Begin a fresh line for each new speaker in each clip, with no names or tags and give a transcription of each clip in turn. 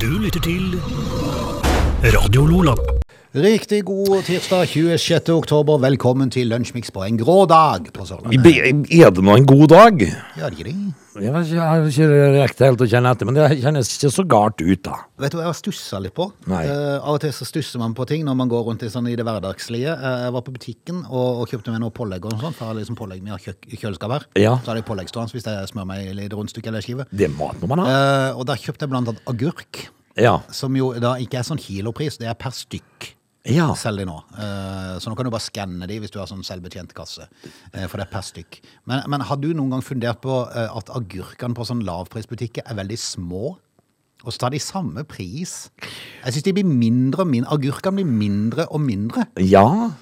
Du lytter til Radio Lola.
Riktig god tirsdag 26. oktober. Velkommen til Lunsjmix på en grå dag på Sørlandet.
Er det nå en god dag?
Ja, det er det.
Jeg vet ikke- jeg har ikke rekt helt å kjenne etter, men det kjennes ikke så galt ut, da.
Vet du hva jeg har stussa litt på?
Nei.
Eh, av og til så stusser man på ting når man går rundt i, sånn, i det hverdagslige. Eh, jeg var på butikken og, og kjøpte meg noe pålegg og sånn, for jeg har liksom pålegg med kjøk i kjøleskap her.
Ja.
Så har jeg pålegg stående hvis jeg smører meg i litt rundstykke eller skive.
Det er mat må man ha.
Eh, og der kjøpte jeg blant annet agurk,
Eh, Ja.
som jo da ikke er sånn kilopris, det er per stykk.
ja.
Selg de nå. Eh, Så nå kan du bare skanne de hvis du har sånn selvbetjent kasse. eh, For det er per stykk. Men, men har du noen gang fundert på eh, at agurkene på sånn lavprisbutikker er veldig små? Og så tar de samme pris. Jeg syns de blir mindre og mindre. Agurkene blir mindre og mindre.
Ja,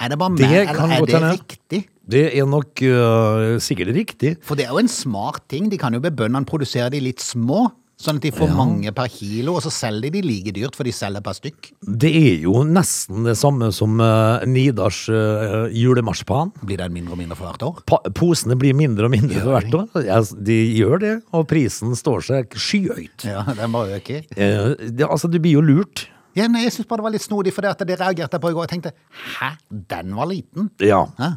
Er det bare
Det
meg,
kan
eller er
godt
det
hende.
riktig?
det er nok øh, sikkert riktig.
For det er jo en smart ting. De kan jo be bøndene produsere de litt små. Sånn at de får mange per kilo, og så selger de de like dyrt, for de selger per stykk.
Det er jo nesten det samme som øh, Nidars øh, julemarsipan.
Blir den mindre og mindre for hvert år?
Pa posene blir mindre og mindre for hvert år. Ja, de gjør det, og prisen står seg skyhøyt.
Ja, den bare øker.
Eh, det, altså, du blir jo lurt.
Ja, nei, jeg syns bare det var litt snodig, for det, at det reagerte jeg på i går. Jeg tenkte hæ, den var liten?
Ja.
Hæ?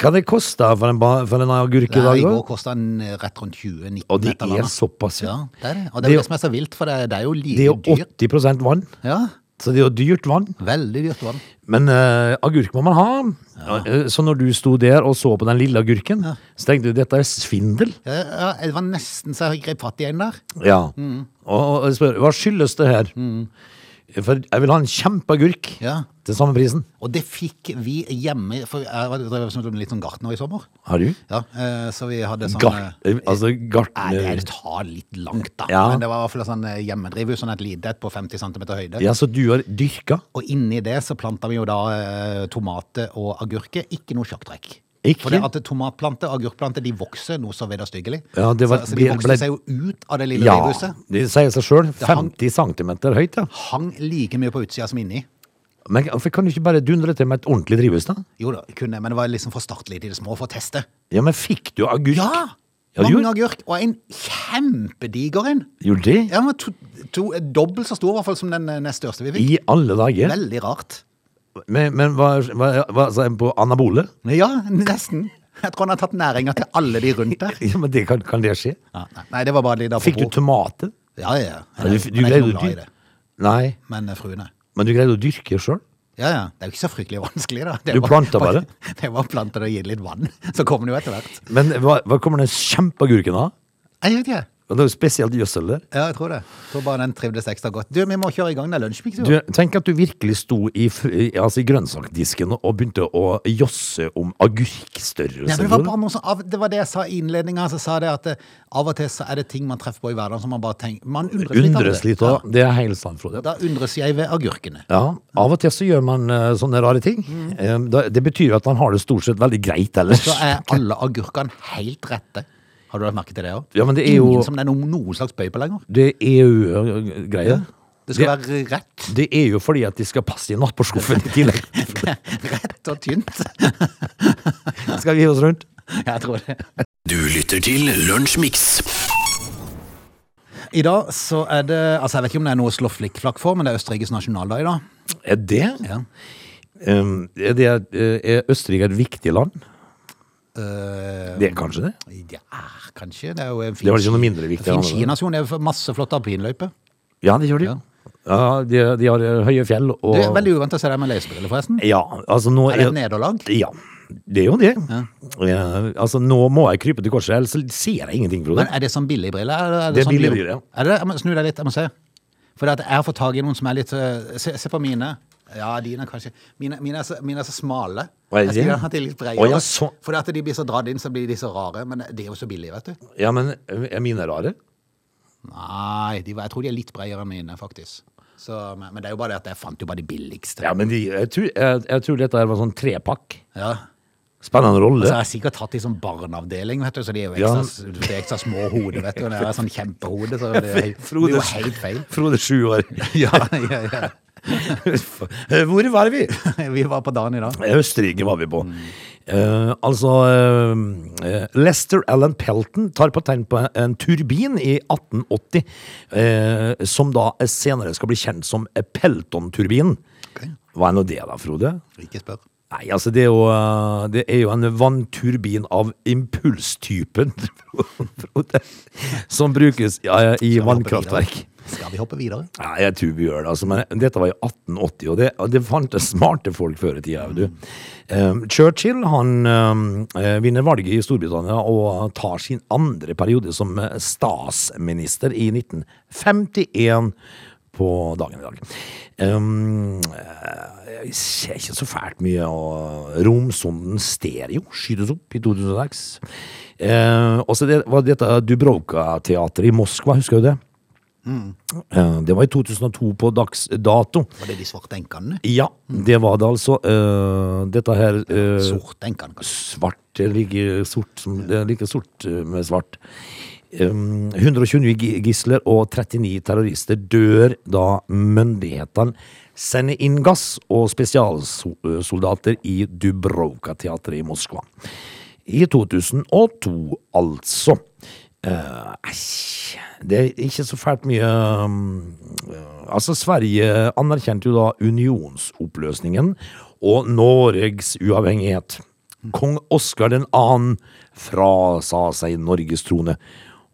Hva det koster for en, ba- for en agurk
Det
i
her
dag?
I
da?
går kosta den eh, rett rundt 20-19.
Og det
et eller
er
annet.
såpass,
ja.
ja.
Det er det. Og det er
Det-
jo det som er så vilt, for det, det er jo
Det
like
er jo
dyrt.
80 vann,
Ja,
så det er jo dyrt vann.
Veldig dyrt vann.
Men eh, agurk må man ha. Eh, Så når du sto der og så på den lille agurken, så tenkte du dette er svindel.
Ja, ja, det var nesten så jeg grep fatt i en der.
Ja. Mm. Og, og jeg spør hva skyldes det her? For jeg vil ha en kjempeagurk
Ja.
til samme prisen.
Og det fikk vi hjemme, for jeg var- drev som litt sånn gartner i sommer.
Har du?
Ja, eh, så vi hadde sånn
Gart,
eh,
altså
Nei, det er-
gartner...
det tar litt langt, da.
Ja.
Men det var i hvert fall sånn eh, hjemmedrivhus, sånn et lite et på 50 cm høyde.
Ja, så du har dyrka?
Og inni det så planta vi jo da eh, tomater og agurker. Ikke noe sjakktrekk.
Ikke?
For det at tomatplanter og agurkplanter de vokser noe så vederstyggelig.
Ja, det var-
så, så de
ble-
vokste
ble-
seg jo ut av det lille
Ja,
drivhuset.
det sier seg sjøl.
hang-
50 cm høyt, ja.
Hang like mye på utsida som inni.
Men hvorfor kan du ikke bare dundre til med et ordentlig drivhus, da?
Jo da, kunne, men det var liksom for startlig til det små for å teste.
Ja, men fikk du agurk?
Ja!
Ja,
Mange
gjorde-
agurk, og en kjempediger en.
Gjorde det?
Ja, men to, to, Dobbelt så stor i hvert fall som den eh, nest største vi fikk.
I alle dager?
Veldig rart.
Men, men hva, hva, hva sa jeg på anabole?
Ja, nesten. Jeg tror han har tatt næringa til alle de rundt der.
Ja, men det kan, kan det skje?
Ja, nei, nei, det var bare litt
Fikk du
apropos.
tomater?
Ja, ja, ja.
Ja, du,
Jeg-
du
jeg er ikke
greide
noe
å
glad i
dyr-
det.
Nei,
Men eh, fruene.
men du greide å dyrke sjøl?
Ja, ja. Det er jo ikke så fryktelig vanskelig, da. Det
Du
var-
planta bare?
Det var å plante det og gi det litt vann, så kommer det jo etter hvert.
Men hva, hva kommer den kjempeagurken av?
Jeg vet ikke.
Og Det er jo spesielt gjødsel der.
Ja, jeg tror det. Jeg tror bare den trivdes ekstra godt. Du, vi må kjøre i gang den lunsjmiksen.
Du, tenk at du virkelig sto i, fr- i- altså i grønnsakdisken og begynte å josse om
Nei,
agurkstørrelse.
men det, var bare noe som, av- det var det jeg sa i innledninga. Så sa jeg det at eh, av og til så er det ting man treffer på i hverdagen som man bare tenker Man undres litt av
Undres
det.
litt òg. Det er helt sant, Frode.
Da undres jeg ved agurkene.
Ja, Av og til så gjør man eh, sånne rare ting. Eh, da- Det betyr jo at man har det stort sett veldig greit ellers.
Mm. Så er alle agurkene helt rette. Har du lagt merke til det òg?
Ja, men det er jo-
Ingen som det er noen, noen slags bøy på lenger.
Det er EU-greie.
Det skal være rett.
Det er jo fordi at de skal passe i nattbordskuffen i tillegg.
Rett og tynt.
Skal vi gi oss rundt?
Jeg tror det.
Du lytter til Lunsjmix.
I dag så er det Altså, jeg vet ikke om det er noe slå flikkflakk for, men det er Østerrikes nasjonaldag i dag.
Er det?
Ja.
Um, er, det eh, er Østerrike et viktig land?
Eh,
Det er kanskje det?
det er kanskje Det er jo en fin,
Det var ikke noe mindre viktig
fin
enn det.
skinasjon. Det er masse flotte alpinløyper.
Ja, det gjør de.
Ja.
Ja. de, de har eh, høye fjell og
Det er Veldig uvant å se deg med lesebriller, forresten.
Ja, altså nå
Er det et nederlag?
Ja, det er jo det. Eh, altså nå må jeg krype til korset, ellers ser jeg ingenting, Frode.
Men er det sånn billigbrille? Er det, er
Det er
sånn
billig
bio-
brille, ja.
Er det, det? jeg må snu deg litt, jeg må se. For det at jeg har fått tak i noen som er litt øh, se, se på mine. Ja, dine kanskje. Mine, mine, er, så, mine er så smale.
Hva er
Jeg skulle
det?
gjerne hatt de litt bredere.
Å, ja, så-
For det at de blir så dratt inn, så blir de så rare. Men de er jo så billige, vet du.
Ja, men eh, er mine rare?
Nei, de, var- jeg tror de er litt bredere enn mine, faktisk. Så, men, men det er jo bare det at jeg fant jo bare de billigste.
Ja, men de, jeg, tror, jeg, jeg tror dette her var sånn trepakk.
Ja.
Spennende rolle.
Så jeg har sikkert tatt de som barneavdeling, vet du. Så de er jo
Ja.
ekstra, de er ekstra små hoder, vet du. Og det er sånn kjempehode, så det er, det er jo
Frode-
helt feil.
Frode sju år.
Ja, ja, ja.
Hvor var vi?
Vi var på dagen i dag. Mm.
Østerrike var vi på. Eh, altså eh, Lester Allen Pelton tar patent på en, en turbin i 1880, eh, som da senere skal bli kjent som Pelton-turbinen.
Ok.
Hva er nå det, da, Frode?
Ikke spør.
Nei, altså det er jo, eh, det er jo en vannturbin av impulstypen, Frode, som brukes ja, i
Skal vi hoppe
vannkraftverk.
videre? Skal vi hoppe videre?
Nei, jeg tror vi gjør det, altså. Men dette var i 1880, og det, og det fantes smarte folk før i tida, vet du. Ehm, Churchill han ehm, eh, vinner valget i Storbritannia og tar sin andre periode som eh, statsminister i 1951 på dagen i dag. Ehm, eh, jeg ser ikke så fælt mye av romsonden Stereo skytes opp i 2006. Uh, og så det, var dette Dubrovka-teatret i Moskva, husker du det? Eh, Det var i 2002 på dags eh, dato.
Var det de svarte enkene?
Ja, det var det altså. Eh, dette her eh,
Sorte enkene, kanskje.
Svart det er like sort som det er like sort eh, med svart. Um, 129 gi- gisler og 39 terrorister dør da myndighetene sender inn gass og spesialsoldater i Dubrovka-teatret i Moskva. I 2002, altså. Eh, Æsj. det er ikke så fælt mye um, eh, Altså, Sverige anerkjente jo da unionsoppløsningen og Norges uavhengighet. Kong Oskar 2. frasa seg Norges trone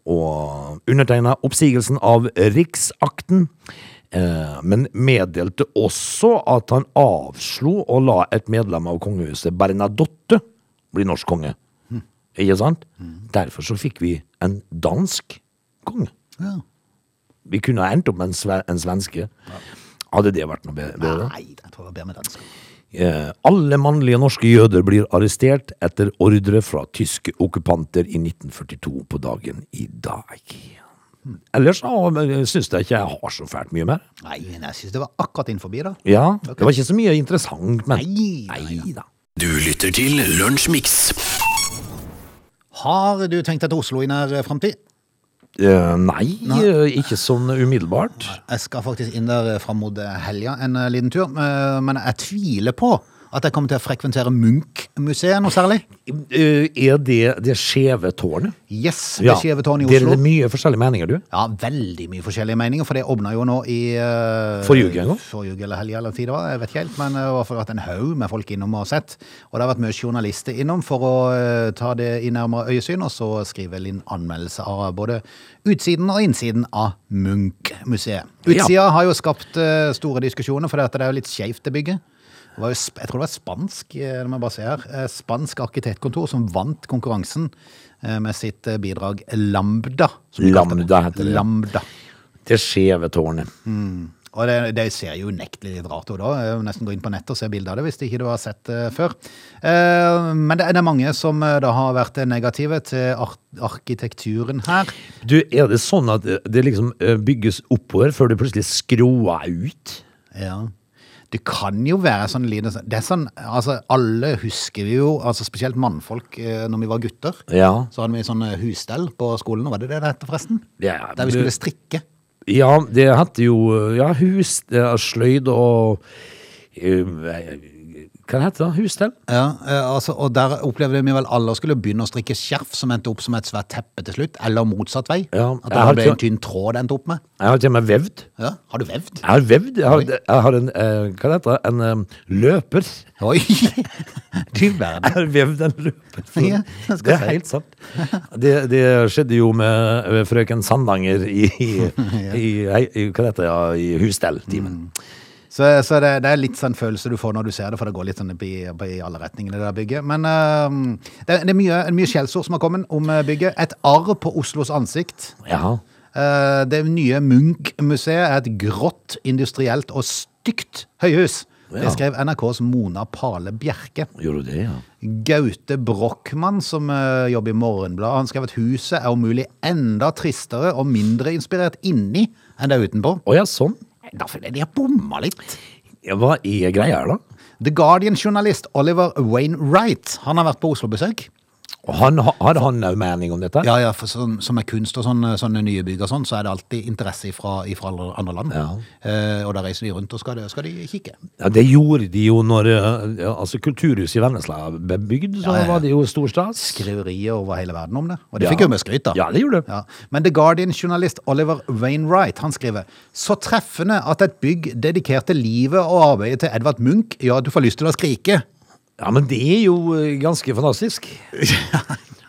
og undertegna oppsigelsen av riksakten, eh, men meddelte også at han avslo å la et medlem av kongehuset, Bernadotte, bli norsk konge. Ikke sant? Derfor så fikk vi en dansk konge.
Ja.
Vi kunne ha endt opp med en, sve en svenske. Hadde det vært noe be- bedre?
Nei, jeg tror jeg ber med dansk.
Eh, alle mannlige norske jøder blir arrestert etter ordre fra tyske okkupanter i 1942 på dagen i dag. Ellers syns jeg ikke jeg har så fælt mye mer.
Nei, men jeg syns det var akkurat innenfor, da.
Ja, Det var ikke så mye interessant, men
Nei, nei,
Nei da.
Du lytter til Lunsjmix.
Har du tenkt deg til Oslo i nær framtid?
Eh, nei, eh, ikke sånn umiddelbart.
Jeg skal faktisk inn der eh, fram mot helga en eh, liten tur, eh, men jeg tviler på at jeg kommer til å frekventere Munch-museet noe særlig.
Eh, er det det skjeve tårnet?
Yes, det skjeve tårnet i
Det er
Oslo.
det mye forskjellige meninger, du.
Ja, veldig mye forskjellige meninger, for det åpna jo nå i eh,
Forrige uke en gang?
Forrige uke eller helga eller tid det var, jeg vet ikke helt. Men eh, det har i hvert fall vært en haug med folk innom og sett. Og det har vært mye journalister innom for å eh, ta det i nærmere øyesyn, og så skrive en anmeldelse av både utsiden og innsiden av Munch-museet. Utsida har jo skapt eh, store diskusjoner, for det at det er jo litt skeivt, det bygget. Det var jo, sp- jeg tror det var spansk, eh, det må jeg bare se her, eh, spansk arkitektkontor som vant konkurransen eh, med sitt eh, bidrag Lambda. som de kalte
Lambda heter det.
Lambda.
Det skjeve tårnet.
Og det, det ser jo unektelig litt rart ut da. Jeg må nesten gå inn på nettet og se bilder av det hvis ikke du har sett det før. Eh, Men det er det er mange som eh, da har vært negative til ar arkitekturen her.
Du, er det sånn at eh, det liksom eh, bygges oppover før det plutselig skråer ut?
Ja. Det kan jo være sånn liten sånn- Det er sånn, altså alle husker vi jo, altså spesielt mannfolk eh, når vi var gutter.
Ja.
Så hadde vi sånn eh, husstell på skolen, var det det det hette forresten?
Ja,
Der vi
du-
skulle strikke.
Ja, det heter jo ja, hus, det er sløyd og eh, Hva heter det? Husstell?
Ja, eh, altså, og der opplevde vi vel alle skulle begynne å strikke skjerf som endte opp som et svært teppe til slutt, eller motsatt vei.
Ja,
at
jeg
det
har
ble
ikke-
en tynn tråd det endte opp med.
Jeg har til og med vevd.
Ja, har du vevd?
Jeg har vevd. Jeg har, jeg har en eh, Hva heter det? En eh, løper.
Oi, du verden.
Jeg har vevd en løper.
Ja, jeg skal
det er
si.
helt sant. Det, det skjedde jo med eh, frøken Sandanger i, i, i, hei- i Hva heter det? Ja, i husstelltimen.
Mm. Så, så det, det er litt sånn følelse du får når du ser det, for det går litt sånn i, i alle retningene det der bygget. Men eh, det, det er mye, mye skjellsord som har kommet om eh, bygget. Et arr på Oslos ansikt.
Ja.
Eh, Det nye Munch-museet er et grått, industrielt og stygt høyhus.
Ja.
Det skrev NRKs Mona Pale Bjerke.
Gjorde du det, ja?
Gaute Brochmann, som eh, jobber i Morgenbladet, han skrev at huset er om mulig enda tristere og mindre inspirert inni enn det er utenpå.
Å ja, sånn.
Da føler jeg de har bomma litt.
Ja, Hva er greia her, da?
The Guardian-journalist Oliver Wainwright han har vært på Oslo-besøk.
Og han, ha- hadde han òg mening om dette?
Ja, ja, for som, som er kunst og sånn, sånne nye bygg og sånn, så er det alltid interesse fra andre land. Eh, og da reiser de rundt og skal, skal de kikke.
Ja, det gjorde de jo når eh, ja, altså Kulturhuset i Vennesla ble bygd, så
Ja, ja.
var det jo storstas.
Skriverier over hele verden om det. Og det
Ja.
fikk jo mye skryt, da.
Ja, det gjorde det.
Ja. Men The Guardian-journalist Oliver Wainwright han skriver så treffende at et bygg dedikerte livet og arbeidet til Edvard Munch, ja, du får lyst til å skrike.
Ja, men det er jo eh, ganske fantastisk.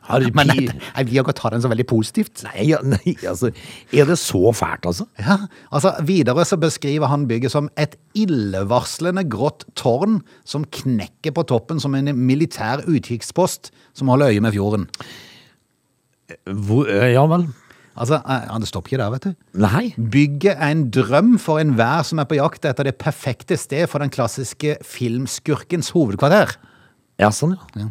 Har de
Men
pi-
jeg, jeg vil godt ta den så veldig positivt.
Nei, ja, nei, altså Er det så fælt, altså?
Ja, altså Videre så beskriver han bygget som et illevarslende grått tårn som knekker på toppen som en militær utkikkspost som holder øye med fjorden.
Hvor, eh, ja vel.
Altså, eh, Han stopper ikke der, vet du.
Nei.
Bygget er en drøm for enhver som er på jakt etter det perfekte sted for den klassiske filmskurkens hovedkvarter.
Ja, sånn, ja.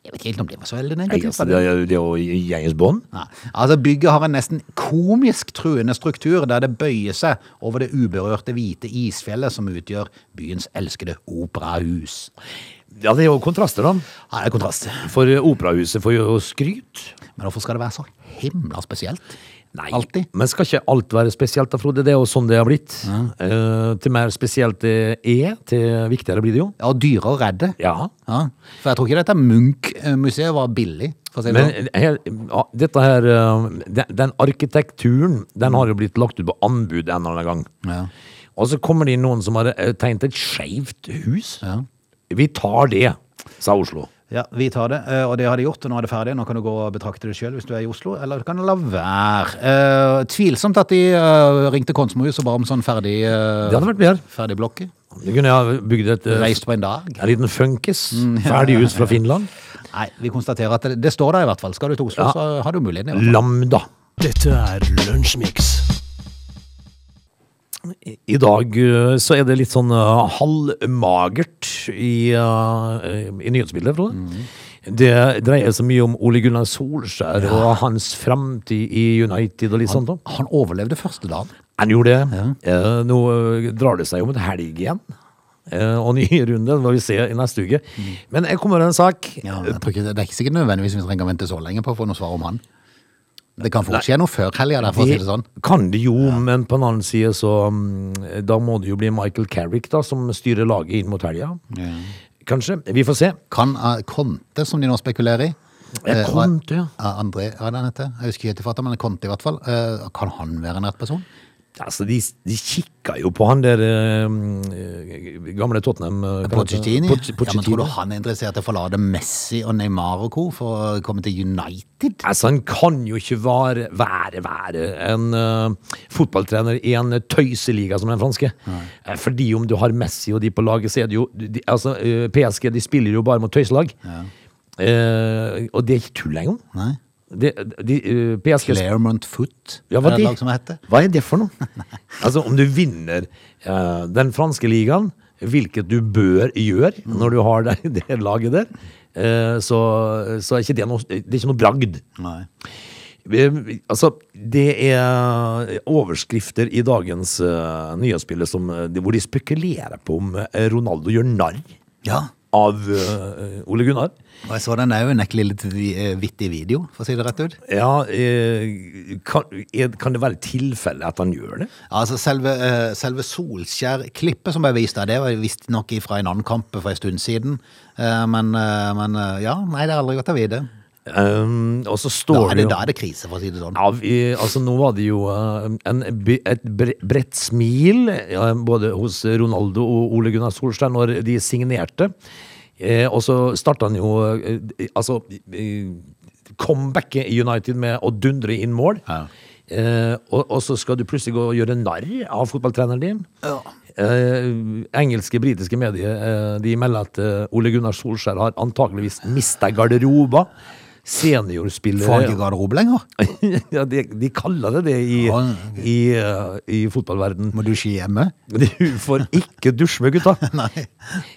Jeg vet ikke helt om det var så veldig
Nei,
negativt. var
altså, det
det?
er jo- det er jo James Bond.
Nei. Altså, Bygget har en nesten komisk truende struktur, der det bøyer seg over det uberørte hvite isfjellet som utgjør byens elskede operahus.
Ja, det er jo kontraster, da.
Her er kontrast.
For eh, operahuset får jo skryt.
Men hvorfor skal det være så himla spesielt?
Nei.
Alltid.
Men skal ikke alt være spesielt, da, Frode? Det er jo sånn det har blitt. Eh, til mer spesielt det er, til viktigere blir det jo.
Ja, dyre og redde.
Ja.
Ja. For jeg tror ikke dette Munch-museet var billig. For å si det sånn.
Men eh, her, ja, dette her eh, den, den arkitekturen, den har jo blitt lagt ut på anbud en eller annen gang.
Ja.
Og så kommer det inn noen som har eh, tegnet et skeivt hus.
Ja.
Vi tar det, sa Oslo.
Ja, vi tar det, eh, og det har de gjort, og nå er det ferdig. Nå kan du gå og betrakte det sjøl hvis du er i Oslo, eller du kan la være. Eh, tvilsomt at de eh, ringte Konsmohus og ba om sånn ferdig,
Det
uh,
hadde vært bedre.
ferdig blokke.
Du kunne ha bygd et eh,
Reist på en dag.
en liten funkis. Ferdig hus fra Finland.
Nei, vi konstaterer at det, det står der i hvert fall. Skal du til Oslo,
Ja.
så har du muligheten. i hvert fall.
Lambda.
Dette er Lunsjmix.
I dag eh, så er det litt sånn eh, halvmagert i, eh, i nyhetsbildet, Frode. Det dreier seg mye om Ole Gunnar Solskjær og hans framtid i United og litt sånt. da.
Han overlevde første dagen.
Han gjorde det. Eh, Nå eh, drar det seg jo mot helg igjen. eh, Og ny runde, det får vi se i neste uke. Men jeg kommer med en sak.
jeg tror ikke, det er ikke sikkert nødvendigvis vi trenger å vente så lenge på å få noe svar om han. Det kan fort skje noe før helga, der, for å si det sånn.
kan det jo, men på den annen side så mm, Da må det jo bli Michael Carrick da, som styrer laget inn mot helga. Kanskje. Vi får se.
Kan eh, Conte, som de nå spekulerer i
Ja,
eh,
Conte, ja.
eh, André, hva er det han heter? Jeg husker ikke helt i farta, men Conte i hvert fall. eh, Kan han være en rett person?
Altså, de, de kikka jo på han der eh, gamle Tottenham eh,
Pochettini?
Poch-
Ja, men tror
Pochettino.
du han er interessert i å forlate Messi og Neymar og co. for å komme til United?
Altså, han kan jo ikke være, være, være en eh, fotballtrener i en tøyseliga som den franske. Eh, Fordi om du har Messi og de på laget, så er det jo de, altså, eh, PSG de spiller jo bare mot tøyselag. Eh, og det er ikke tull engang.
Nei.
Det- de, eh, PSG
Claremont Foot,
Ja,
er
hva,
det
de,
et lag som heter.
hva er det for noe? altså, om du vinner eh, den franske ligaen, hvilket du bør gjøre når du har det, det laget der, eh, så, så er ikke det noe, det er ikke noe bragd.
Nei.
Eh, Altså, det er overskrifter i dagens uh, nyhetsbilde som, eh, hvor de spekulerer på om eh, Ronaldo gjør narr
Ja.
av eh, Ole Gunnar.
Og jeg så den òg, en ekkel litt vi- eh, vittig video, for å si det rett ut.
Ja, eh, kan, er, kan det være tilfelle at han gjør det?
Altså Selve, eh, selve Solskjær-klippet som ble vist der, det var visstnok fra en annen kamp for en stund siden. Eh, Men, eh, men eh, ja, nei, det er aldri godt å vite.
Um, og så
Da
står
er
det
det,
jo
da er det krise, for å si det sånn.
Ja, vi, altså nå var det jo eh, en, by- et bre- bredt smil eh, både hos Ronaldo og Ole Gunnar Solskjær når de signerte. Eh, og så starta han jo eh, altså eh, comebacket i United med å dundre inn mål.
Ja.
Eh, og, og så skal du plutselig gå og gjøre narr av fotballtreneren din. Eh, engelske, britiske medier eh, de melder at eh, Ole Gunnar Solskjær har antakeligvis mista garderoba. Seniorspillere
Får han ikke garderobe lenger?
ja, de, de kaller det det i,
Ja, ja,
i, eh, i fotballverden.
Må du ikke hjemme?
Du får ikke dusje med gutta.
Nei.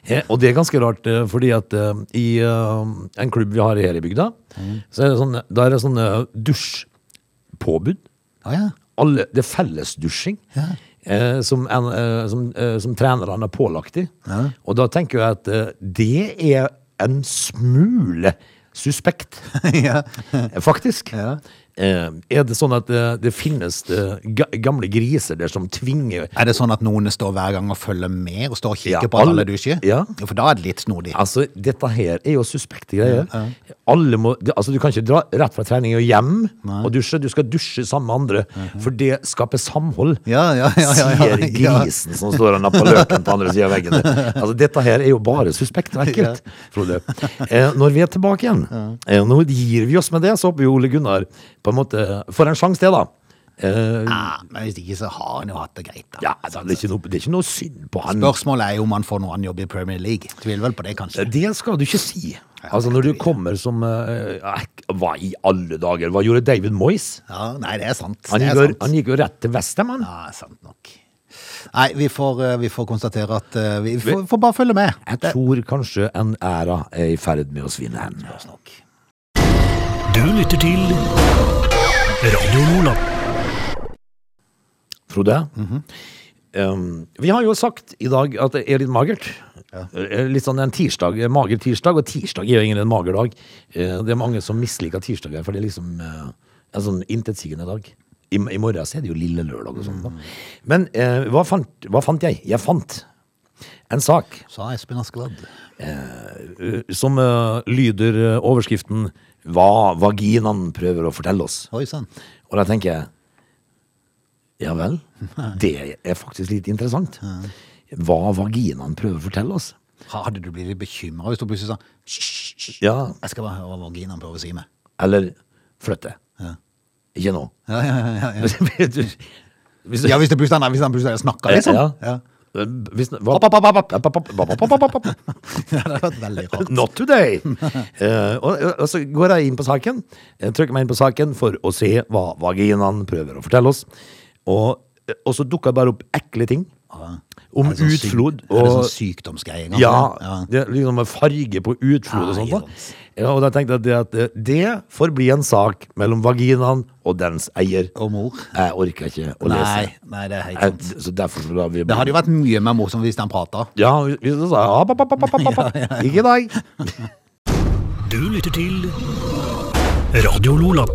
Eh, Og det er ganske rart, eh, fordi at eh, i eh, en klubb vi har her i bygda,
Mm.
så er det sånn, da er det sånn eh, dusjpåbud.
Å ja.
Alle, det er fellesdusjing eh, som, en, eh, som, eh, som trenerne har pålagt dem. Og da tenker jeg at eh, det er en smule suspekt,
ja.
faktisk.
Ja.
Eh, er det sånn at eh, det finnes eh, ga gamle griser der som tvinger
Er det sånn at noen står hver gang og følger med og står og kikker
Ja,
på alle
alle-
du ikke?
Ja.
For da er det litt snodig.
Altså, dette her er jo suspekte greier. Alle må, det- altså, du kan ikke dra rett fra trening og hjem og dusje. Du skal dusje sammen med andre, for det skaper samhold.
Ja, ja, ja, ja, ja,
Sier grisen som står og napper løken på andre sida av veggen. der. Altså, dette her er jo bare suspekt og ekkelt, Frode. Eh, når vi er tilbake igjen, eh, nå gir vi oss med det, så håper vi Ole Gunnar på en måte får en sjanse til, da. Eh,
Ja, Ah, men hvis ikke så har han jo hatt det greit, da.
ja, altså, det, er ikke noe, det er ikke noe synd på han.
Spørsmålet er jo om han får noen annen jobb i Premier League. Tviler vel på det, kanskje.
Det skal du ikke si. Altså, når du kommer som eh, ek- Hva i alle dager? Hva gjorde David Moyes?
Ja, nei, det er sant.
Han
det
gikk,
er
jo,
sant.
han gikk jo rett til Vestheim, han.
Ja, sant nok. Nei, vi får, eh, vi får konstatere at eh, Vi får, får bare følge med.
Jeg tror kanskje en æra er i ferd med å svinne hen.
Du lytter til Radio Nordland.
Frode, um, vi har jo sagt i dag at det er litt magert. Eh, Litt sånn en tirsdag, en mager tirsdag, og tirsdag er jo ingen en mager dag. Eh, Det er mange som misliker tirsdager, for det er liksom eh, en sånn intetsigende dag. I, I morgen så er det jo lille lørdag og sånt. da. Men eh, hva, fant, hva fant jeg? Jeg fant en sak
Sa Espen Askeladd.
eh, som eh, lyder eh, overskriften Hva vaginaen prøver å fortelle oss.
Oi sann.
Og da tenker jeg Ja vel, det er faktisk litt interessant. Hva vaginaen prøver å fortelle oss.
Hadde du blitt bekymra hvis du plutselig sa «Hysj, hysj, hysj,
Ja,
Jeg skal bare høre hva vaginaen prøver å si meg.
Eller flytte.
Ja.
Ikke nå.
Ja, ja, ja, ja, ja.
Vet du- Hvis
ja hvis det plutselig hvis han plutselig snakker, liksom.
Eh, Ja.
Ja.
Hvis, hva, hopp, hopp, hopp, hopp, hopp, hopp, hopp, hopp, hopp, hopp.
det hadde vært veldig rart.
Not today! Eh, og, og så går jeg inn på saken, jeg trykker meg inn på saken for å se hva vaginaen prøver å fortelle oss. Og, og så dukker det bare opp ekle ting. Om
Er det sånn syk-
utflod
Er det
og
sånn sykdomsgreie? kanskje?
Ja,
ja.
Det er liksom med farge på utflod og
Ah,
sånt.
ikke
Da.
sant.
Ja, og da tenkte jeg at det, at det får bli en sak mellom vaginaen og dens eier.
Og mor?
Jeg orker ikke å
Nei,
lese.
nei, det er helt
Jeg,
sant.
så derfor så lar vi
Det hadde jo vært mye mer morsomt hvis han prata.
Ja, hvis hvis du sa app, app, app, app, app, app. Ikke i dag.
Du lytter til Radio Nordland.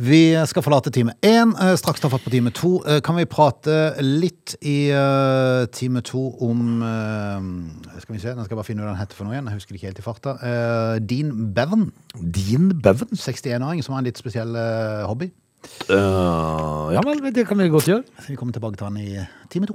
Vi skal forlate time én, eh, straks ta fatt på time to. Eh, Kan vi prate litt i eh, time to om eh, Skal vi se, nå skal jeg bare finne ut hva han heter for noe igjen. Jeg husker det ikke helt i farta. Eh, Dean Bevan,
Din beven.
61-åring, som har en litt spesiell eh, hobby.
Øh, ja vel, det kan vi godt gjøre.
Så vi kommer tilbake til han i time to.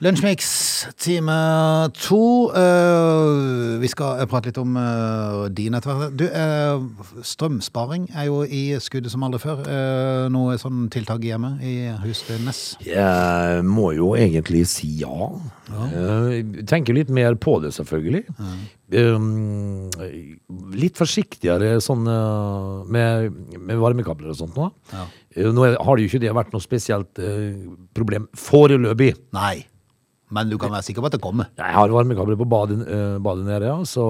Lunsjmix, time to. Eh, vi skal eh, prate litt om eh, din etter hvert. Du, eh, strømsparing er jo i skuddet som aldri før. Eh, noe sånn tiltak hjemme i Husnes.
Jeg må jo egentlig si ja. Eh, Jeg tenker litt mer på det, selvfølgelig. Um, litt forsiktigere sånn eh, med, med varmekabler og sånt nå.
Ja.
Eh, Nå er- har det jo ikke det vært noe spesielt eh, problem foreløpig.
Nei, men du kan være sikker på at det kommer.
Jeg har varmekabler på badet, eh, badet nede, ja, så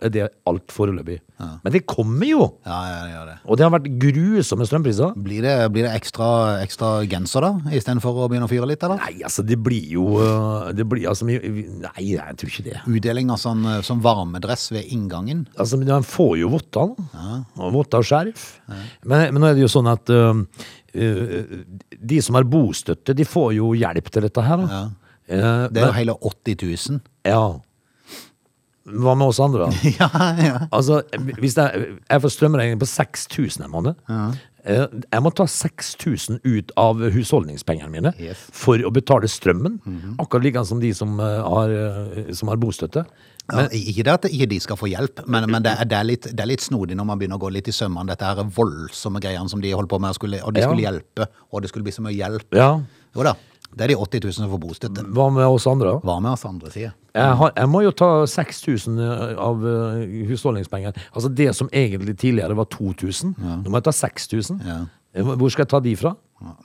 er det alt foreløpig. Men det kommer jo!
Ja, ja, det gjør det.
Og det har vært grusomme strømpriser.
Blir det, blir det ekstra, ekstra genser da, istedenfor å begynne å fyre litt, eller?
Nei, altså, det blir jo eh, det blir, altså, vi- vi- Nei, jeg tror ikke det.
Utdeling av sånn, eh, sånn varmedress ved inngangen.
Altså, men han får jo votter, da. Og votter og skjerf. Men, men nå er det jo sånn at øhm, øh, de som har bostøtte, de får jo hjelp til dette her. Da. Eh,
Det er jo
men,
hele 80 000.
ja. Hva med oss andre, da?
Ja, ja.
Altså, hvis jeg, jeg får strømregning på 6000 en måned. eh, Jeg må ta 6000 ut av husholdningspengene mine
Yes. Mhm.
for å betale strømmen. Akkurat like som de som eh, har, eh, som har bostøtte.
Ja, ikke det at ikke de skal få hjelp, men, men det, er, det, er litt, det er litt snodig når man begynner å gå litt i sømmene. Dette her er voldsomme greiene som de holdt på med, og, skulle, og de
Ja.
skulle hjelpe, og det skulle bli så mye hjelp.
Ja.
Jo da, det er de 80 000 som får bostøtte.
Hva med oss andre? da?
Hva med oss andre sier?
Jeg, har, jeg må jo ta 6000 av eh, husholdningspenger. Altså det som egentlig tidligere var 2000. Nå må jeg ta 6000.
Ja.
Eh, Hvor skal jeg ta de fra?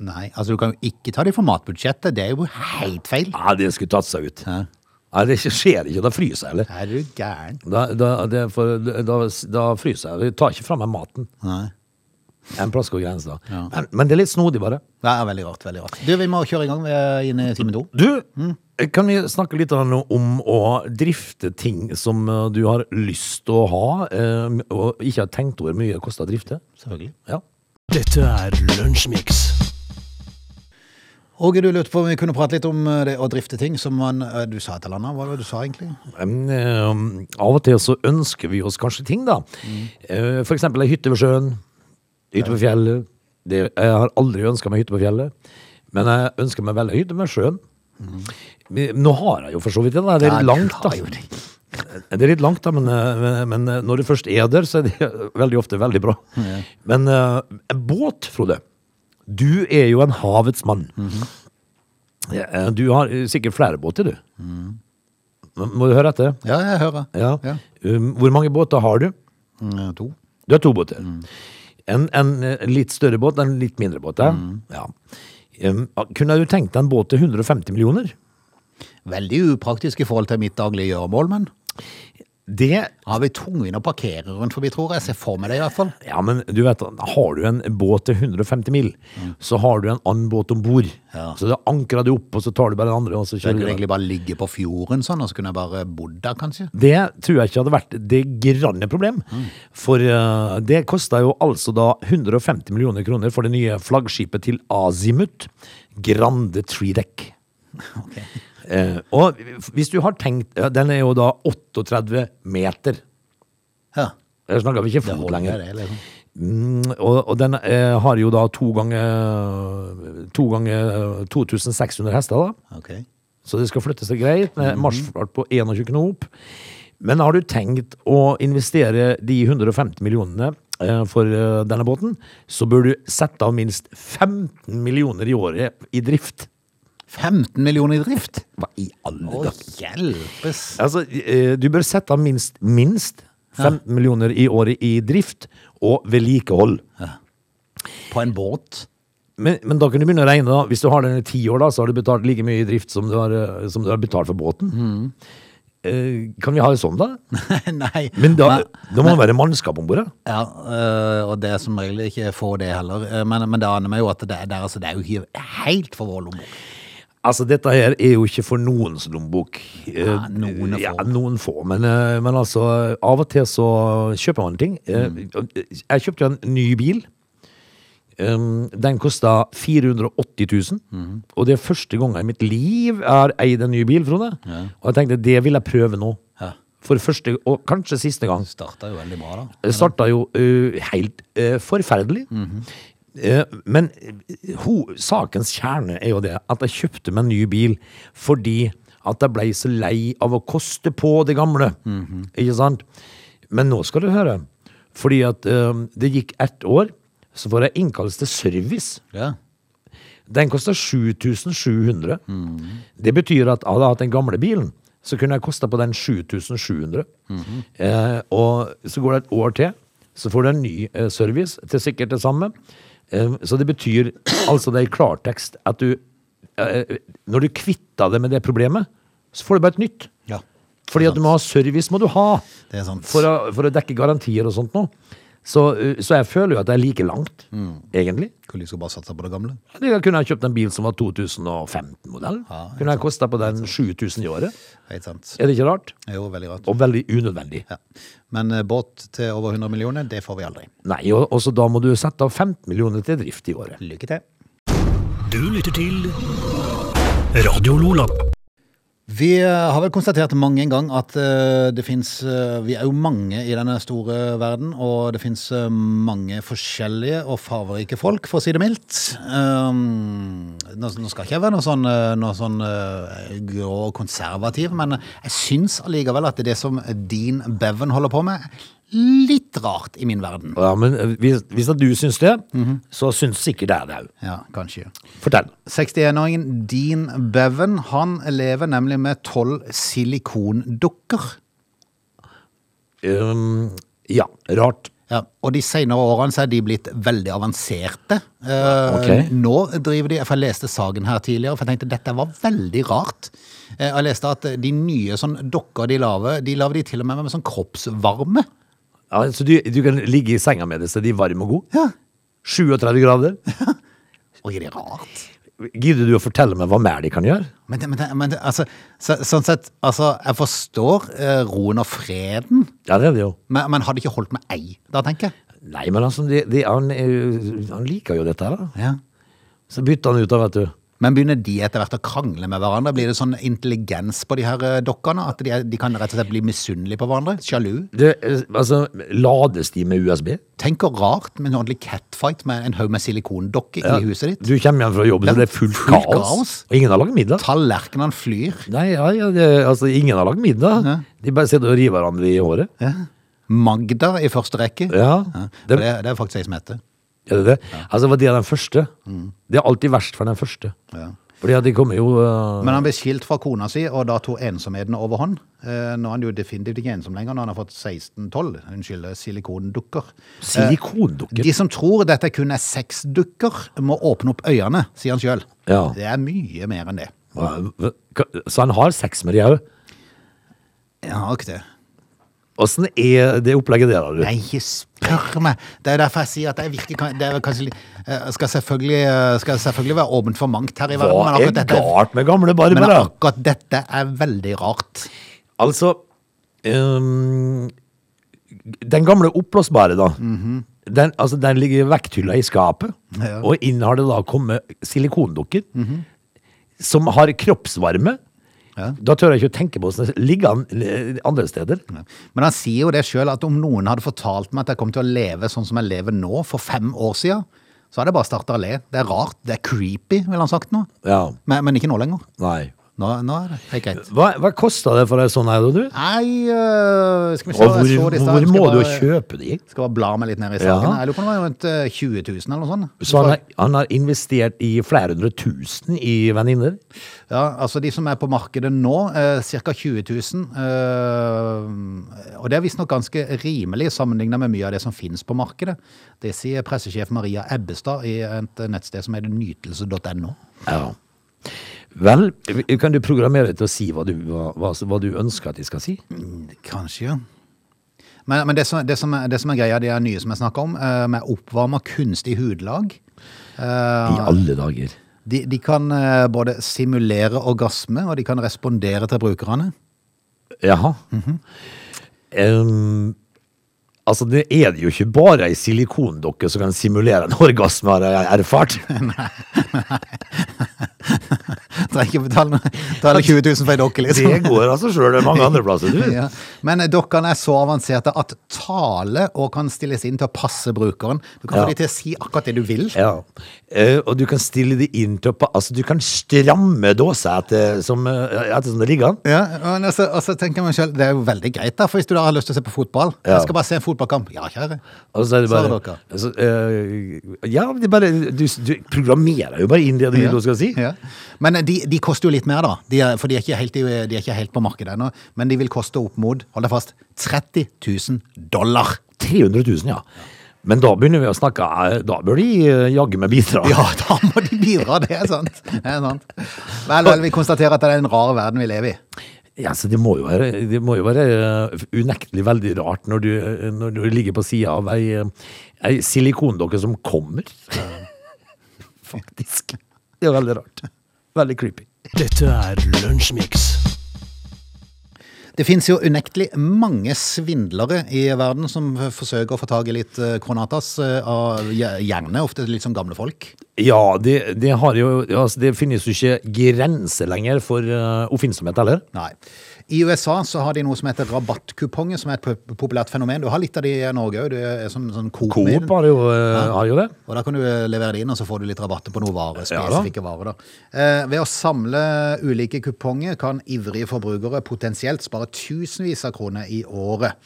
Nei, altså du kan jo ikke ta de for matbudsjettet, det er jo helt feil.
Ja, det skulle tatt seg ut.
Ja.
Nei, det skjer ikke. Da fryser jeg, eller?
Er du gæren?
Da, da, det, for, da, da fryser jeg. Jeg tar ikke fra meg maten.
Nei.
En plass går grensa.
Ja.
Men, men det er litt snodig, bare.
Det er veldig rart. veldig rart. Du, Vi må kjøre i gang. Vi er inne i time to.
Du,
Mm.
kan vi snakke litt grann om å drifte ting som eh, du har lyst til å ha, eh, og ikke har tenkt over hvor mye det koster å drifte?
Selvfølgelig.
Ja.
Dette er Lunsjmix.
Åge, du lurte på om vi kunne prate litt om eh, det å drifte ting som man eh, Du sa et eller annet? Hva var det du sa egentlig?
Em, em, eh, av og til så ønsker vi oss kanskje ting, da. Eh, For eksempel ei hytte ved sjøen. Hytte på fjellet. Det, jeg har aldri ønska meg hytte på fjellet, men jeg ønsker meg veldig hytte med sjøen. Men Nå har jeg jo for så vidt det, da. Det er
Ja,
litt
du
langt, da.
har jo det.
Det er litt langt, da, men, eh, men eh, når du først er der, så er det veldig ofte veldig bra. Men eh, en båt, Frode. Du er jo en havets mann.
Mhm.
Ja, eh, Du har eh, sikkert flere båter, du. Nå Må du høre etter?
Ja, jeg hører.
Ja.
Ja.
Um, hvor mange båter har du?
Mm, To.
Du har to båter.
Mm.
En, en eh, litt større båt, en litt mindre båt. ja.
Mm.
Ja. Um, kunne du tenkt deg en båt til 150 millioner?
Veldig upraktisk i forhold til mitt daglige gjøremål, men
Det
har vi tungvint å parkere rundt forbi, tror jeg. Jeg ser for meg det i hvert fall.
Ja, men du vet, har du en båt til 150 mil, så har du en annen båt om bord.
Mm. Ja.
Så da ankrer du opp, og så tar du bare den andre, og så
Jeg
kjører du.
kunne
den.
egentlig bare ligge på fjorden sånn, og så kunne jeg bare bodd der, kanskje.
Det tror jeg ikke hadde vært det granne problem. For eh, det kosta jo altså da 150 millioner kroner for det nye flaggskipet til Azimut, Grande Tridec. Eh, og hvis du har tenkt ja, Den er jo da 38 meter.
Ja,
Jeg snakker vi ikke
det
fot
holder
lenger.
det, liksom.
Mm, og, og den eh, har jo da to ganger To ganger 2600 hester, da.
Ok.
Så det skal flytte seg greit, med marsjfart på 21 knop. Men har du tenkt å investere de 150 millionene eh, for eh, denne båten, så bør du sette av minst 15 millioner i året i drift.
15 millioner i drift?
Hva i alle
Å,
dager?
hjelpes!
Altså, eh, du bør sette av minst, minst 15 millioner i året i drift og vedlikehold.
På en båt?
Men, men da kan du begynne å regne, da. Hvis du har den i ti år, da, så har du betalt like mye i drift som du har, eh, som du har betalt for båten. Eh, kan vi ha det sånn, da?
Nei.
Men da,
Men-
da må det være mannskap om bord. da.
Ja, øh, og det er som regel ikke få det heller. Eh, Men, men det aner meg jo at det er, der, altså, det er jo ikke helt for vår lommebok.
Altså, dette her er jo ikke for noens lommebok. Eh,
Ja, noen er
ja,
få.
noen få. Men, eh, men altså, av og til så kjøper man ting. Eh, Jeg kjøpte jo en ny bil. Um, Den kosta 480 000. Og det er første gang i mitt liv jeg har eid en ny bil, Frode. Og jeg tenkte, det vil jeg prøve nå.
Ja.
For første, og kanskje siste gang.
Starta jo veldig bra, da.
Det starta jo ø, helt ø, forferdelig. Eh, men eh, ho, sakens kjerne er jo det at jeg kjøpte meg en ny bil fordi at jeg blei så lei av å koste på det gamle. Ikke sant? Men nå skal du høre. Fordi at ø, det gikk ett år, så får jeg innkallelse til service.
Ja.
Den kosta 7700. Det betyr at hadde jeg hatt den gamle bilen, så kunne jeg kosta på den 7700. eh, og så går det et år til, så får du en ny eh, service til sikkert det samme. Eh, så det betyr altså det er i klartekst at du eh, Når du kvitter deg med det problemet, så får du bare et nytt.
ja.
Fordi at du må ha service, må du ha.
Det er sant.
For å, for å dekke garantier og sånt noe. Så, eh, så jeg føler jo at det er like langt,
Mm.
egentlig.
Kunne liksom bare satsa på det gamle.
Jeg kunne ha kjøpt en bil som var 2015-modell.
Ja, ikke
kunne ha kosta på den 7000 i året.
Helt sant.
Er det ikke rart?
Det er jo veldig rart.
Og veldig unødvendig.
Ja. Men eh, båt til over 100 millioner, det får vi aldri.
Nei, og og så da må du sette av 15 millioner til drift i året.
Lykke til.
Du lytter til Radio Lola.
Vi eh, har vel konstatert mange en gang at eh, det fins Vi er jo mange i denne store verden, og det fins mange forskjellige og farverike folk, for å si det mildt. Um, nå, nå skal ikke jeg være noe sånn, eh, noe sånn eh, grå og konservativ, men eh, jeg syns allikevel at det som Dean Bevan holder på med, litt rart i min verden.
Ja, men eh, hvis, hvis at du syns det,
Mhm.
så syns sikkert jeg det òg.
Ja, kanskje.
Fortell.
61-åringen Dean Bevan, han lever nemlig med tolv silikondukker.
Um, ja, rart.
Ja, og de senere årene så er de blitt veldig avanserte. Eh,
Ok.
Nå driver de, for jeg leste saken her tidligere, for jeg tenkte dette var veldig rart. Eh, jeg leste at de nye sånn dokker de laver, de laver de til og med med sånn kroppsvarme.
Ja, så du, du kan ligge i senga med det, så de er varme og gode?
Ja.
37 grader?
Oi, det er rart.
Gidder du å fortelle meg hva mer de kan gjøre?
Men, det- men, det- men det- altså, så, sånn sett, altså, jeg forstår eh, roen og freden,
Ja, det er det jo.
men, men hadde ikke holdt med ei, da tenker jeg.
Nei, men altså, de, de, han, eh, han liker jo dette her, da.
Ja.
Så bytter han ut, da, vet du.
Men begynner de etter hvert å krangle med hverandre? Blir det sånn intelligens på de her eh, dokkene? At de, er, de kan rett og slett bli misunnelige på hverandre? Sjalu?
Det, eh, altså, lades de med USB?
Tenk hvor rart med en ordentlig catfight med en haug med silikondokker i huset ditt.
Du kommer hjem fra jobb, så
Ja,
det er fullt
fullt
kaos.
kaos.
Og ingen har lagd middag.
Tallerkenene flyr.
Nei, ja, ja, det, altså, ingen har lagd middag.
Ja.
De bare sitter og river hverandre i håret.
Ja. Magda i første rekke.
Ja.
Det,
Det-
det, det er faktisk jeg som heter.
Er det det? Altså, for de er den første. Det er alltid verst for den første.
Ja.
Fordi at de kommer jo eh,
Men han ble skilt fra kona si, og da tok ensomheten overhånd. Eh, nå er han jo definitivt ikke ensom lenger, når han har fått 16-12. Hun skylder silikondukker.
Silikondukker.
De som tror dette kun er sexdukker, må åpne opp øynene, sier han sjøl.
Ja.
Det er mye mer enn det.
Hva- hva- hva- Så han har sex med de òg?
Jeg har ikke det.
Åssen er det opplegget der, da? du?
Nei, ikke spør meg! Det er derfor jeg sier at det er viktig kan- det er kanskje, litt- eh, skal, selvfølgelig, eh, skal selvfølgelig være åpent for mangt her i verden,
Hva er
dette er-
galt med gamle
men
Barbara?
akkurat dette er veldig rart.
Altså ehm, Den gamle oppblåsbare, da. den, altså, den ligger vekthylla i skapet,
Mhm. Ja. Mhm.
og inn har det da kommet silikondukker som har kroppsvarme.
Ja.
Da tør jeg ikke å tenke på åssen det ligger an eh, andre steder.
Men han sier jo det sjøl, at om noen hadde fortalt meg at jeg kom til å leve sånn som jeg lever nå, for fem år siden, så hadde jeg bare starta å le. Det er rart. Det er creepy, ville han sagt nå.
Ja,
Men, men ikke nå lenger.
nei.
Nå, nå er det helt greit.
Hva, hva kosta det for ei sånn her, da, du?
Nei, øh, skal vi se
Og
jeg så
hvor,
det i stad.
hvor
Skal
må du
bare-
kjøpe de?
Skal bare bla meg litt ned i
Ja.
saken. Jeg lurer på om det var rundt øh, 20 000 eller noe sånt.
Så han har, han har investert i flere hundre tusen i venninner?
Ja, altså de som er på markedet nå, eh, ca. 20 000. Eh, og det er visstnok ganske rimelig sammenlignet med mye av det som finnes på markedet. Det sier pressesjef Maria Ebbestad i et øh, nettsted som heter nytelse.no.
Ja. Vel, kan du programmere til å si hva du, hva, hva, hva du ønsker at de skal si?
Kanskje, ja. Men, men det, som, det, som er, det som er greia, det er nye som jeg snakker om, eh, med oppvarma kunstig hudlag.
I alle dager.
De, de kan eh, både simulere orgasme, og de kan respondere til brukerne.
Jaha. Em, altså, det er det jo ikke bare ei silikondokke som kan simulere en orgasme, har jeg erfart.
Trenger ikke betale noe. Da er det 20 000 for ei dokke, liksom.
Det går altså sjøl. Det er mange andre plasser, du.
Ja. Men eh, dokkene er så avanserte at tale og kan stilles inn til å passe brukeren. Du kan
Ja.
få de til å si akkurat det du vil.
Ja. Eh, og du kan stille det inn til å pa- Altså, du kan stramme dåsa etter som, eh, etter som det ligger an.
Ja, men altså, og så tenker man selv, Det er jo veldig greit, da, for hvis du da har lyst til å se på fotball.
Ja.
Jeg skal bare se en fotballkamp. Ja, kjære.
Og så er det
Sa
bare
dere.
altså, eh, Ja, det er bare du, du programmerer jo bare inn det du vil hun skal si.
Ja. Men de, de koster jo litt mer, da. De er, for de er, ikke helt, i- de er ikke helt på markedet ennå. Men de vil koste opp mot, hold deg fast, 30 000 dollar.
300 000, ja. Men da begynner vi å snakke eh, Da bør de eh, jaggu meg bidra.
Ja, da må de bidra, det er sant. Det er sant. Vel, vel, vi konstaterer at det er en rar verden vi lever i.
Ja, så det må jo være, det må jo være eh, unektelig veldig rart når du, eh, når du ligger på sida av ei, eh, ei silikondokke som kommer. Faktisk. Det er veldig rart. Veldig creepy.
Dette er Lunsjmix.
Det finnes jo unektelig mange svindlere i verden som f- forsøker å få tak i litt eh, Kronatas, eh, av gje- gjerne ofte litt som gamle folk.
Ja, det, det har jo altså, Det finnes jo ikke grenser lenger for uh, oppfinnsomhet heller.
Nei. I USA så har de noe som heter rabattkuponger, som er et pop- populært fenomen. Du har litt av det i Norge òg, som sånn Coop. med.
Coop har jo, eh, har jo det.
Og da kan du eh, levere det inn, og så får du litt rabatter på noen varer,
Ja da.
spesifikke varer. da. Eh, ved å samle ulike kuponger kan ivrige forbrukere potensielt spare tusenvis av kroner i året.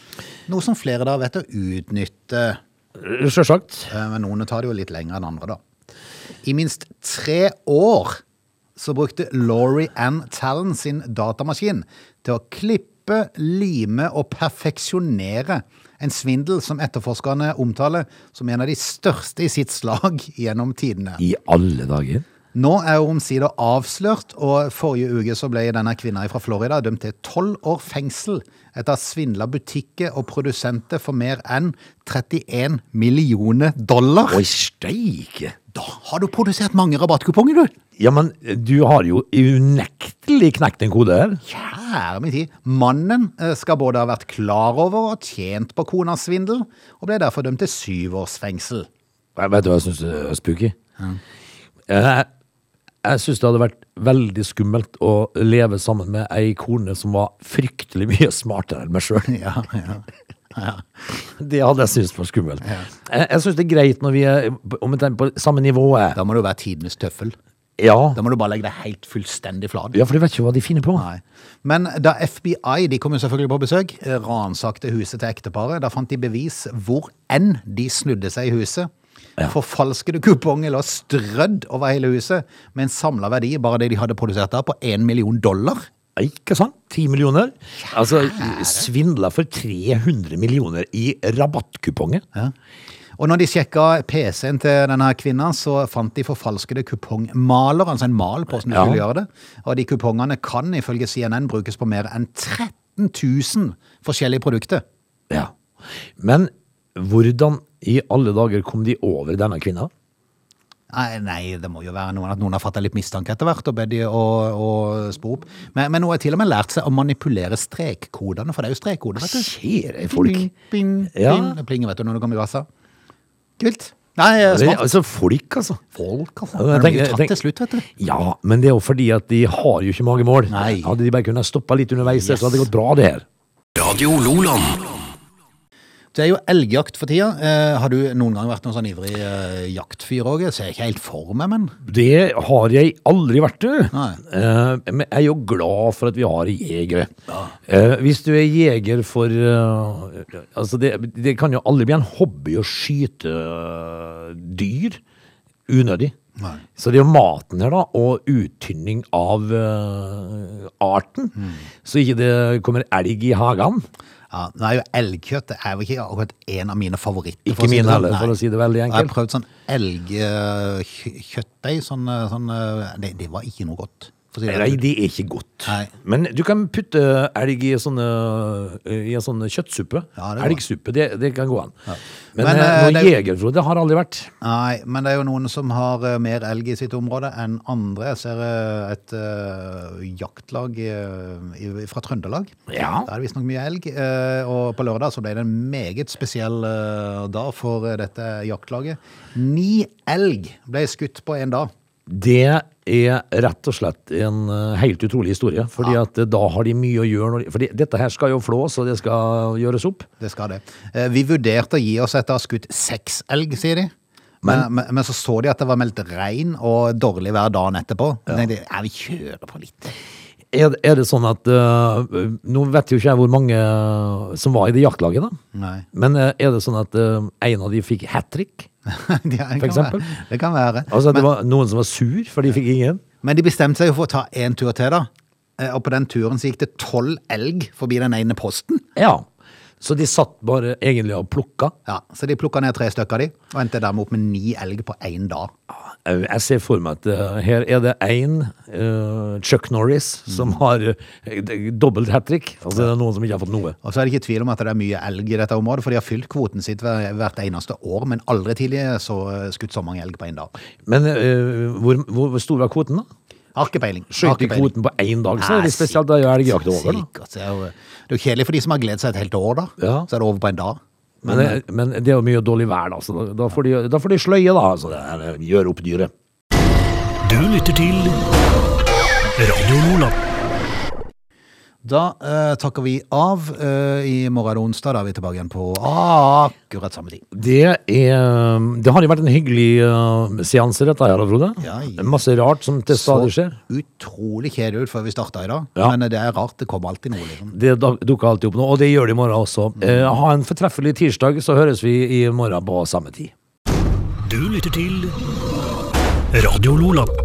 Noe som flere da vet å utnytte.
Sjølsagt.
Eh, Men noen tar det jo litt lenger enn andre, da. I minst tre år så brukte Laurie Ann Tallon sin datamaskin til å klippe klippe, lime og perfeksjonere en svindel som etterforskerne omtaler som en av de største i sitt slag gjennom tidene.
I alle dager?
Nå er hun omsider avslørt, og forrige uke så ble denne kvinna fra Florida dømt til tolv år fengsel etter å ha svindla butikker og produsenter for mer enn 31 millioner dollar.
Oi, steike!
Da har du produsert mange rabattkuponger, du!
Ja, men eh, du har jo unektelig knekt en kode her.
Kjære min tid. Mannen eh, skal både ha vært klar over og tjent på konas svindel, og ble derfor dømt til syv års fengsel.
Jeg vet du hva jeg syns er spooky? Jeg, jeg syns det hadde vært veldig skummelt å leve sammen med ei kone som var fryktelig mye smartere enn meg sjøl.
Ja, ja.
Det hadde jeg syntes var skummelt. Jeg, jeg syns det er greit når vi er på- om vi tenker på samme nivået.
Da må du være tidenes tøffel.
Ja.
Da må du bare legge deg helt fullstendig flat.
ja, for du vet ikke hva de finner på.
Nei. Men da FBI de kom jo selvfølgelig på besøk, eh, ransakte huset til ekteparet. Da fant de bevis hvor enn de snudde seg i huset.
Ja.
Forfalskede kuponger lå strødd over hele huset, med en samla verdi, bare det de hadde produsert da, på én million dollar.
Ikke sant? Ti millioner? Altså, svindla for 300 millioner i rabattkuponger.
Og når de sjekka PC-en til denne kvinna, så fant de forfalskede kupongmaler, altså en mal på hvordan du
Ja.
skulle gjøre det. Og de kupongene kan ifølge CNN brukes på mer enn 13 000 forskjellige produkter.
Ja. Men hvordan i alle dager kom de over denne kvinna?
Nei, nei, det må jo være noen at noen har fatta litt mistanke etter hvert og bedt de å, å spore opp. Men, men hun har til og med lært seg å manipulere strekkodene, for det er jo strekkoder, vet du.
Skjer Ah, det, folk?
Bing, bing,
Ja.
bing. Det plinger, vet du, når du kommer i vassa. Kult. Nei,
Det,
smart.
altså, folk, altså.
Folk, altså.
Jeg
Men det blir
tenker-
jo tatt
tenk-
til slutt, vet du.
Ja, men det er jo fordi at de har jo ikke magemål.
Nei.
Hadde de bare kunnet stoppa litt underveis,
Yes.
så hadde det gått bra, det her.
Radio Loland.
Det er jo elgjakt for tida. Eh, har du noen gang vært noen sånn ivrig eh, jaktfyr òg? Ser ikke helt for meg, men
Det har jeg aldri vært, du.
Nei.
Eh, men jeg er jo glad for at vi har jegere. Eh, hvis du er jeger for eh, Altså, det, det kan jo aldri bli en hobby å skyte eh, dyr unødig.
Nei.
Så det er jo maten her, da, og uttynning av eh, arten. Så ikke det kommer elg i hagen.
ja, nå er jo elgkjøtt det er jo ikke akkurat en av mine favoritter.
Ikke min heller, for å si det veldig
sånn. Jeg har
enkelt.
prøvd sånn elgkjøttdeig. Sånn, eh, sånn, eh, det, det var ikke noe godt. For å si det sånn.
Nei,
rett ut.
det er ikke godt.
Nei.
Men du kan putte elg i, sånne, i en sånn kjøttsuppe.
Ja, det går an.
Elgsuppe, det, det kan gå an. Men,
Men,
eh,
eh,
noe
det-
jegerflod, det har aldri vært.
Nei, men det er jo noen som har eh, mer elg i sitt område enn andre. Jeg ser eh, et eh, jaktlag eh, i- fra Trøndelag.
Ja.
Der er det visstnok mye elg. eh, og på lørdag så ble det en meget spesiell eh, dag for eh, dette jaktlaget. Ni elg ble skutt på én dag.
Det er rett og slett en eh, helt utrolig historie, fordi at eh, da har de mye å gjøre. Når de, fordi dette her skal jo flås, og det skal gjøres opp.
Det skal det. Eh, vi vurderte å gi oss etter å ha skutt seks elg, sier de. Men, men, men så så de at det var meldt regn og dårlig vær dagen etterpå. Ja. Tenkte, jeg, ja, vi kjører på litt.
Er, det- er det sånn at eh, Nå vet jo ikke jeg hvor mange som var i det jaktlaget, da.
Nei.
Men eh, er det sånn at eh, en av de fikk hat trick?
Ja, det kan
eksempel?
Være. Det kan være.
Altså at det var noen som var sur, for de fikk ingen?
Men de bestemte seg jo for å ta en tur til, da. Eh, Og på den turen så gikk det tolv elg forbi den ene posten.
Ja. Så de satt bare egentlig og plukka.
Ja, Så de plukka ned tre stykker av de, og endte dermed opp med ni elg på én dag.
Jeg jeg ser for meg at eh, her er det én eh, Chuck Norris som har eh, d- dobbelt hat trick. Altså det er noen som ikke har fått noe.
Og så er det ikke tvil om at det er mye elg i dette området, for de har fylt kvoten sitt hver- hvert eneste år, men aldri tidligere så eh, skutt så mange elg på én dag.
Men eh, hvor, hvor, hvor stor var kvoten, da?
Har ikke peiling. Har
Skjøt de
ikke peiling.
kvoten på én dag, så er
Nei,
det spesielt. Da er jo elgjakt over, da.
Sikkert. Det er jo det er jo kjedelig for de som har gledet seg et helt år, da.
Ja.
Så er det over på en dag.
Men, det- men det er jo mye dårlig vær, da. Så da, da, får, de, da får de sløye, da. Altså, det er, eh, gjør opp dyret.
Du lytter til Radio Loland.
Da eh, takker vi av. Eh, I morgen er det onsdag, da er vi tilbake igjen på akkurat samme tid.
Det, er, det har jo vært en hyggelig eh, seanse, dette her, Frode.
Ja, ja.
Masse rart som til stadig skjer.
Så utrolig kjedelig ut før vi starta i dag.
Ja.
Men det er rart, det kommer alltid noe, liksom.
Det da- dukker alltid opp nå, og det gjør det i morgen også. Eh, ha en fortreffelig tirsdag, så høres vi i morgen på samme tid.
Du lytter til Radio Loland.